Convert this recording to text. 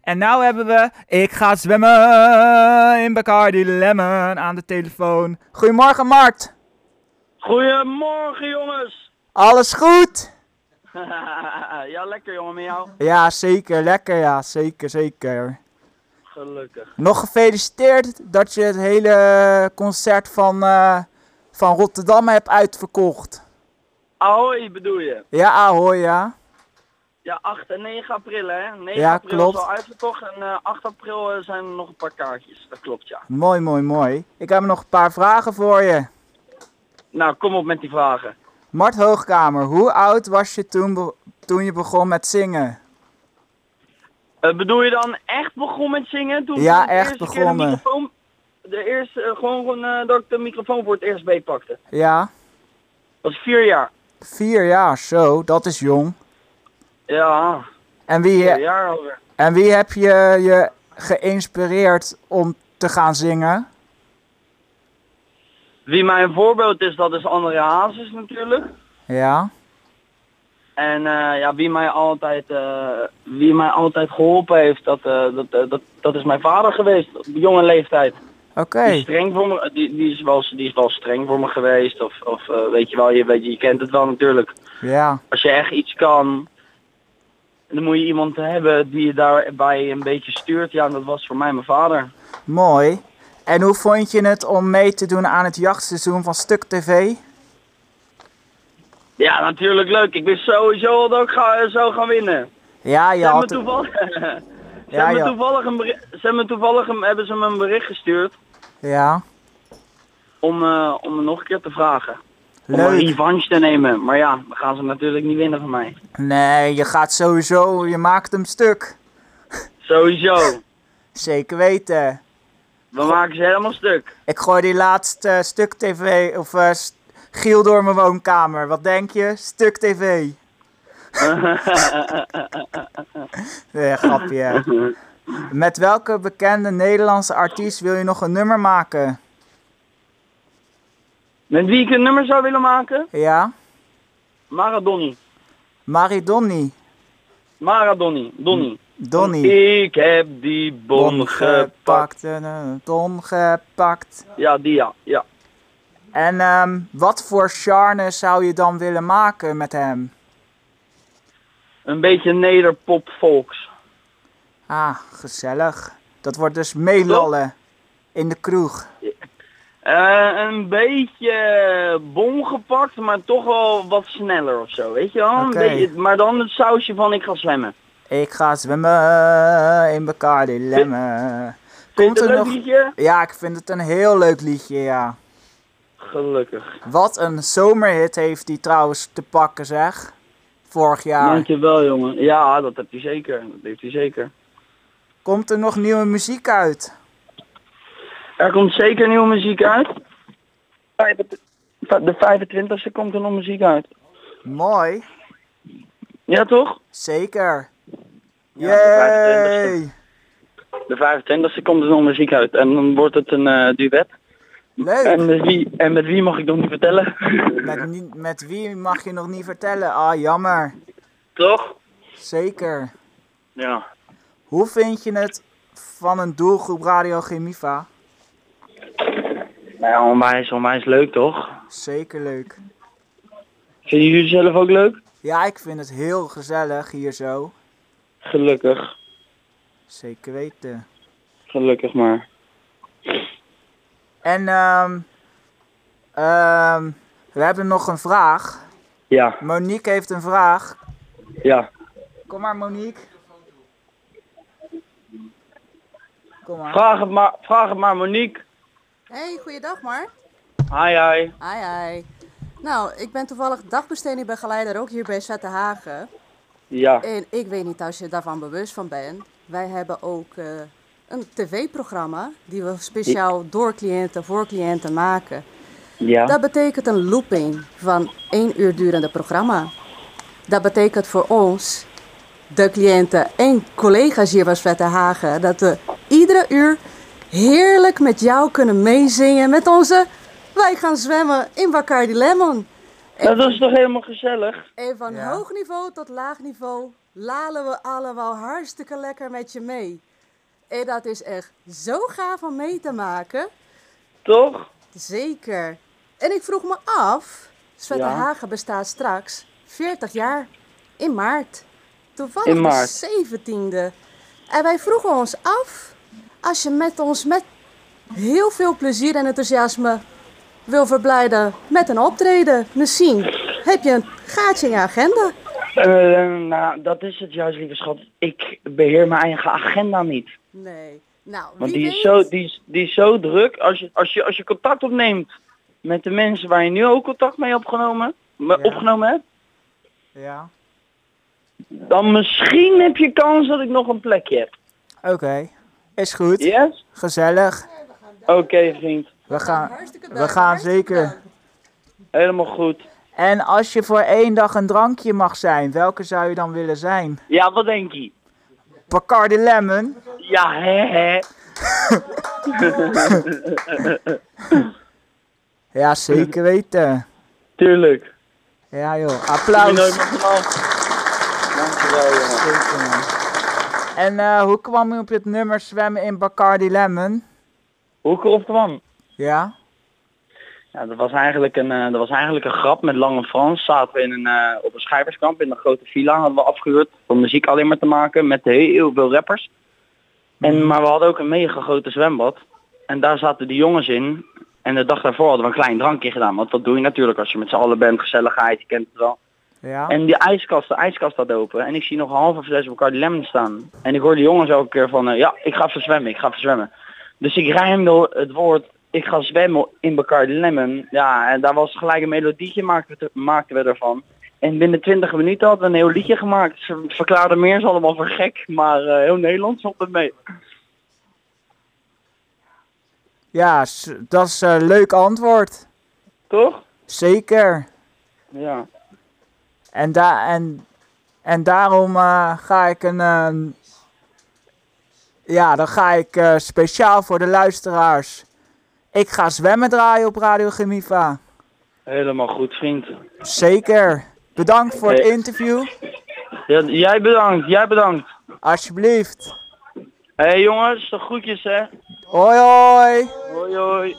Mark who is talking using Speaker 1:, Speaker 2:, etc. Speaker 1: En nou hebben we Ik ga zwemmen in Bacardi Lemon aan de telefoon. Goedemorgen Mart.
Speaker 2: Goedemorgen jongens.
Speaker 1: Alles goed?
Speaker 2: ja, lekker jongen met jou.
Speaker 1: Ja, zeker. Lekker. Ja, zeker, zeker.
Speaker 2: Gelukkig.
Speaker 1: Nog gefeliciteerd dat je het hele concert van, eh, van Rotterdam hebt uitverkocht.
Speaker 2: Ahoy bedoel je?
Speaker 1: Ja, ahoy, ja.
Speaker 2: Ja, 8 en 9 april hè? 9
Speaker 1: Ja,
Speaker 2: april
Speaker 1: klopt.
Speaker 2: is al uitverkocht en eh, 8 april eh, zijn er nog een paar kaartjes. Dat klopt ja.
Speaker 1: Mooi, mooi, mooi. Ik heb nog een paar vragen voor je.
Speaker 2: Nou, kom op met die vragen.
Speaker 1: Mart Hoogkamer, hoe oud was je toen, be- toen je begon met zingen?
Speaker 2: Eh, bedoel je dan echt begon met zingen? Toen
Speaker 1: Ja,
Speaker 2: ik de
Speaker 1: echt
Speaker 2: eerste keer
Speaker 1: begonnen.
Speaker 2: De, microfoon, de eerste, eh, gewoon eh, dat ik de microfoon voor het eerst beetpakte.
Speaker 1: Ja,
Speaker 2: Dat was vier jaar.
Speaker 1: vier jaar, zo, dat is jong.
Speaker 2: Ja,
Speaker 1: En wie,
Speaker 2: vier jaar alweer.
Speaker 1: en wie heb je je geïnspireerd om te gaan zingen?
Speaker 2: Wie mijn voorbeeld is, dat is André Hazes natuurlijk.
Speaker 1: Ja,
Speaker 2: En eh, ja, wie mij altijd, eh, wie mij altijd geholpen heeft, dat, eh, dat, eh, dat, dat is mijn vader geweest op jonge leeftijd.
Speaker 1: oké.
Speaker 2: Die, is streng voor me, die, die, is wel, die is wel streng voor me geweest. Of, of eh, weet je wel, je, weet, je kent het wel natuurlijk.
Speaker 1: Ja,
Speaker 2: Als je echt iets kan, dan moet je iemand hebben die je daarbij een beetje stuurt. Ja, en dat was voor mij mijn vader.
Speaker 1: mooi. En hoe vond je het om mee te doen aan het jachtseizoen van Stuk TV?
Speaker 2: Ja, natuurlijk leuk. Ik wist sowieso al dat ik ga, zou gaan winnen.
Speaker 1: Ja,
Speaker 2: Ze
Speaker 1: je
Speaker 2: hebben
Speaker 1: had...
Speaker 2: toevallig, ze
Speaker 1: Ja,
Speaker 2: hebben
Speaker 1: ja.
Speaker 2: toevallig, een, beri- ze hebben toevallig een, hebben ze me een bericht gestuurd.
Speaker 1: Ja,
Speaker 2: om, eh, om me nog een keer te vragen. Om een
Speaker 1: leuk.
Speaker 2: revanche te nemen. Maar ja, dan gaan ze natuurlijk niet winnen van mij.
Speaker 1: Nee, je gaat sowieso, je maakt hem stuk.
Speaker 2: Sowieso.
Speaker 1: Zeker weten.
Speaker 2: We maken ze helemaal stuk.
Speaker 1: Ik gooi die laatste eh, stuk tv of eh, st- Giel door mijn woonkamer. Wat denk je? Stuk tv. nee, grapje. hè. Met welke bekende Nederlandse artiest wil je nog een nummer maken?
Speaker 2: Met wie ik een nummer zou willen maken?
Speaker 1: Ja?
Speaker 2: Maradoni.
Speaker 1: Maridonni.
Speaker 2: Maradoni. Donny.
Speaker 1: Donny.
Speaker 2: Ik heb die bon gepakt.
Speaker 1: gepakt. eh, Ton gepakt.
Speaker 2: Ja, die ja. ja.
Speaker 1: En ehm, wat voor charne zou je dan willen maken met hem?
Speaker 2: Een beetje nederpop volks.
Speaker 1: Ah, gezellig. Dat wordt dus meelallen in de kroeg.
Speaker 2: Eh, een beetje bon gepakt, maar toch wel wat sneller of zo. Weet je wel? Een
Speaker 1: Oké.
Speaker 2: beetje- maar dan het sausje van ik ga slemmen.
Speaker 1: Ik ga zwemmen in Bacardi Lemmen.
Speaker 2: Vind
Speaker 1: Komt
Speaker 2: je
Speaker 1: er
Speaker 2: het een
Speaker 1: nog...
Speaker 2: leuk liedje?
Speaker 1: Ja, ik vind het een heel leuk liedje, ja.
Speaker 2: Gelukkig.
Speaker 1: Wat een zomerhit heeft die trouwens te pakken, zeg. Vorig jaar.
Speaker 2: Dankjewel jongen. Ja, dat heb je zeker. Dat heeft hij zeker.
Speaker 1: Komt er nog nieuwe muziek uit?
Speaker 2: Er komt zeker nieuwe muziek uit. De 25e komt er nog muziek uit.
Speaker 1: Mooi.
Speaker 2: Ja toch?
Speaker 1: Zeker.
Speaker 2: Ja, de
Speaker 1: Yay.
Speaker 2: De 25e komt er nog muziek uit. En dan wordt het een eh, duet.
Speaker 1: Leuk.
Speaker 2: En met, wie, en met wie mag ik nog niet vertellen?
Speaker 1: Met, nie- met wie mag je nog niet vertellen? Ah, jammer.
Speaker 2: toch?
Speaker 1: Zeker.
Speaker 2: Ja.
Speaker 1: Hoe vind je het van een doelgroep Radio Chemiva?
Speaker 2: Nou ja, onwijs, onwijs leuk toch?
Speaker 1: Zeker leuk.
Speaker 2: Vinden jullie zelf ook leuk?
Speaker 1: Ja, ik vind het heel gezellig hier zo.
Speaker 2: Gelukkig.
Speaker 1: Zeker weten.
Speaker 2: Gelukkig maar.
Speaker 1: En ehm, ehm, we hebben nog een vraag.
Speaker 2: Ja,
Speaker 1: Monique heeft een vraag.
Speaker 2: ja.
Speaker 1: Kom maar, Monique. Kom maar.
Speaker 2: Vraag het maar, vraag het maar Monique.
Speaker 3: Hey, goeiedag Mart.
Speaker 2: Hi hi.
Speaker 3: Hi, hi. Nou, ik ben toevallig dagbestedingbegeleider ook hier bij Zettenhagen.
Speaker 2: Ja.
Speaker 3: En ik weet niet als je daarvan bewust van bent. Wij hebben ook eh, een tv-programma die we speciaal door cliënten voor cliënten maken.
Speaker 2: Ja.
Speaker 3: Dat betekent een looping van één uur durende programma. Dat betekent voor ons, de cliënten en collega's hier bij Svettenhagen, dat we iedere uur heerlijk met jou kunnen meezingen met onze Wij gaan zwemmen in Bacardi Lemon.
Speaker 2: Dat is toch helemaal gezellig?
Speaker 3: En van
Speaker 1: Ja.
Speaker 3: hoog niveau tot laag niveau, lalen we allemaal hartstikke lekker met je mee. En dat is echt zo gaaf om mee te maken.
Speaker 2: Toch?
Speaker 3: Zeker. En ik vroeg me af, Zwette
Speaker 2: Ja.
Speaker 3: Hagen bestaat straks 40 jaar in maart. Toevallig
Speaker 2: In maart.
Speaker 3: de 17e. En wij vroegen ons af, als je met ons met heel veel plezier en enthousiasme wil verblijden met een optreden, zien, heb je een gaatje in je agenda?
Speaker 2: Eh, nou, dat is het juist, lieve schat. Ik beheer mijn eigen agenda niet.
Speaker 3: Nee. Nou,
Speaker 2: Want
Speaker 3: wie
Speaker 2: die
Speaker 3: weet.
Speaker 2: is, zo, die, is, die is zo druk. Als je, als, je, als je contact opneemt met de mensen waar je nu ook contact mee opgenomen, me-
Speaker 1: Ja.
Speaker 2: opgenomen hebt,
Speaker 1: Ja.
Speaker 2: dan misschien heb je kans dat ik nog een plekje heb.
Speaker 1: Oké. Is goed.
Speaker 2: Yes?
Speaker 1: Gezellig.
Speaker 2: Oké, vriend.
Speaker 1: We gaan,
Speaker 3: Hartstikke
Speaker 1: we
Speaker 3: bedankt,
Speaker 1: gaan
Speaker 3: hartstikke
Speaker 1: zeker.
Speaker 3: bedankt.
Speaker 2: Helemaal goed.
Speaker 1: En als je voor één dag een drankje mag zijn, welke zou je dan willen zijn?
Speaker 2: Ja, wat denk je?
Speaker 1: Bacardi Lemon?
Speaker 2: Ja, hè, hè.
Speaker 1: Ja, zeker weten.
Speaker 2: Tuurlijk.
Speaker 1: Ja joh,
Speaker 2: Doe je nooit
Speaker 1: applaus.
Speaker 2: meer vanaf. Dankjewel, jongen.
Speaker 1: Zeker, man. En eh, hoe kwam je op het nummer zwemmen in Bacardi Lemon?
Speaker 2: Hoe ik erop kwam?
Speaker 1: Ja?
Speaker 2: Ja, dat was eigenlijk een, eh, dat was eigenlijk een grap met Lange Frans. Zaten we in een, eh, op een schrijverskamp in een grote villa. Hadden we afgehuurd om muziek alleen maar te maken met heel veel rappers. En, maar we hadden ook een mega grote zwembad. En daar zaten die jongens in. En de dag daarvoor hadden we een klein drankje gedaan. Want dat doe je natuurlijk als je met z'n allen bent. Gezelligheid, je kent het wel.
Speaker 1: Ja?
Speaker 2: En die ijskast, de ijskast staat open. En ik zie nog een halve fles Bacardi Lemon staan. En ik hoor die jongens elke keer van, eh, ja, ik ga even zwemmen, ik ga even zwemmen. Dus ik rijmde het woord, ik ga zwemmen in Bacardi Lemon. Ja, en daar was gelijk een melodietje maakten we, maakten we ervan. En binnen 20 minuten hadden we een heel liedje gemaakt. Ze verklaarden meer eens allemaal voor gek, maar eh, heel Nederland stond het mee.
Speaker 1: Ja, s- dat is een leuk antwoord.
Speaker 2: Toch?
Speaker 1: Zeker.
Speaker 2: Ja.
Speaker 1: En, da en, en daarom eh, ga ik een. ehm, ja, dan ga ik eh, speciaal voor de luisteraars. Ik ga zwemmen draaien op Radio Gemiva.
Speaker 2: Helemaal goed, vriend.
Speaker 1: Zeker. Bedankt voor het
Speaker 2: Oké.
Speaker 1: interview.
Speaker 2: Ja, jij bedankt, jij bedankt.
Speaker 1: Alsjeblieft.
Speaker 2: Hé hey, jongens, de groetjes hè.
Speaker 1: Hoi hoi.
Speaker 2: Hoi hoi.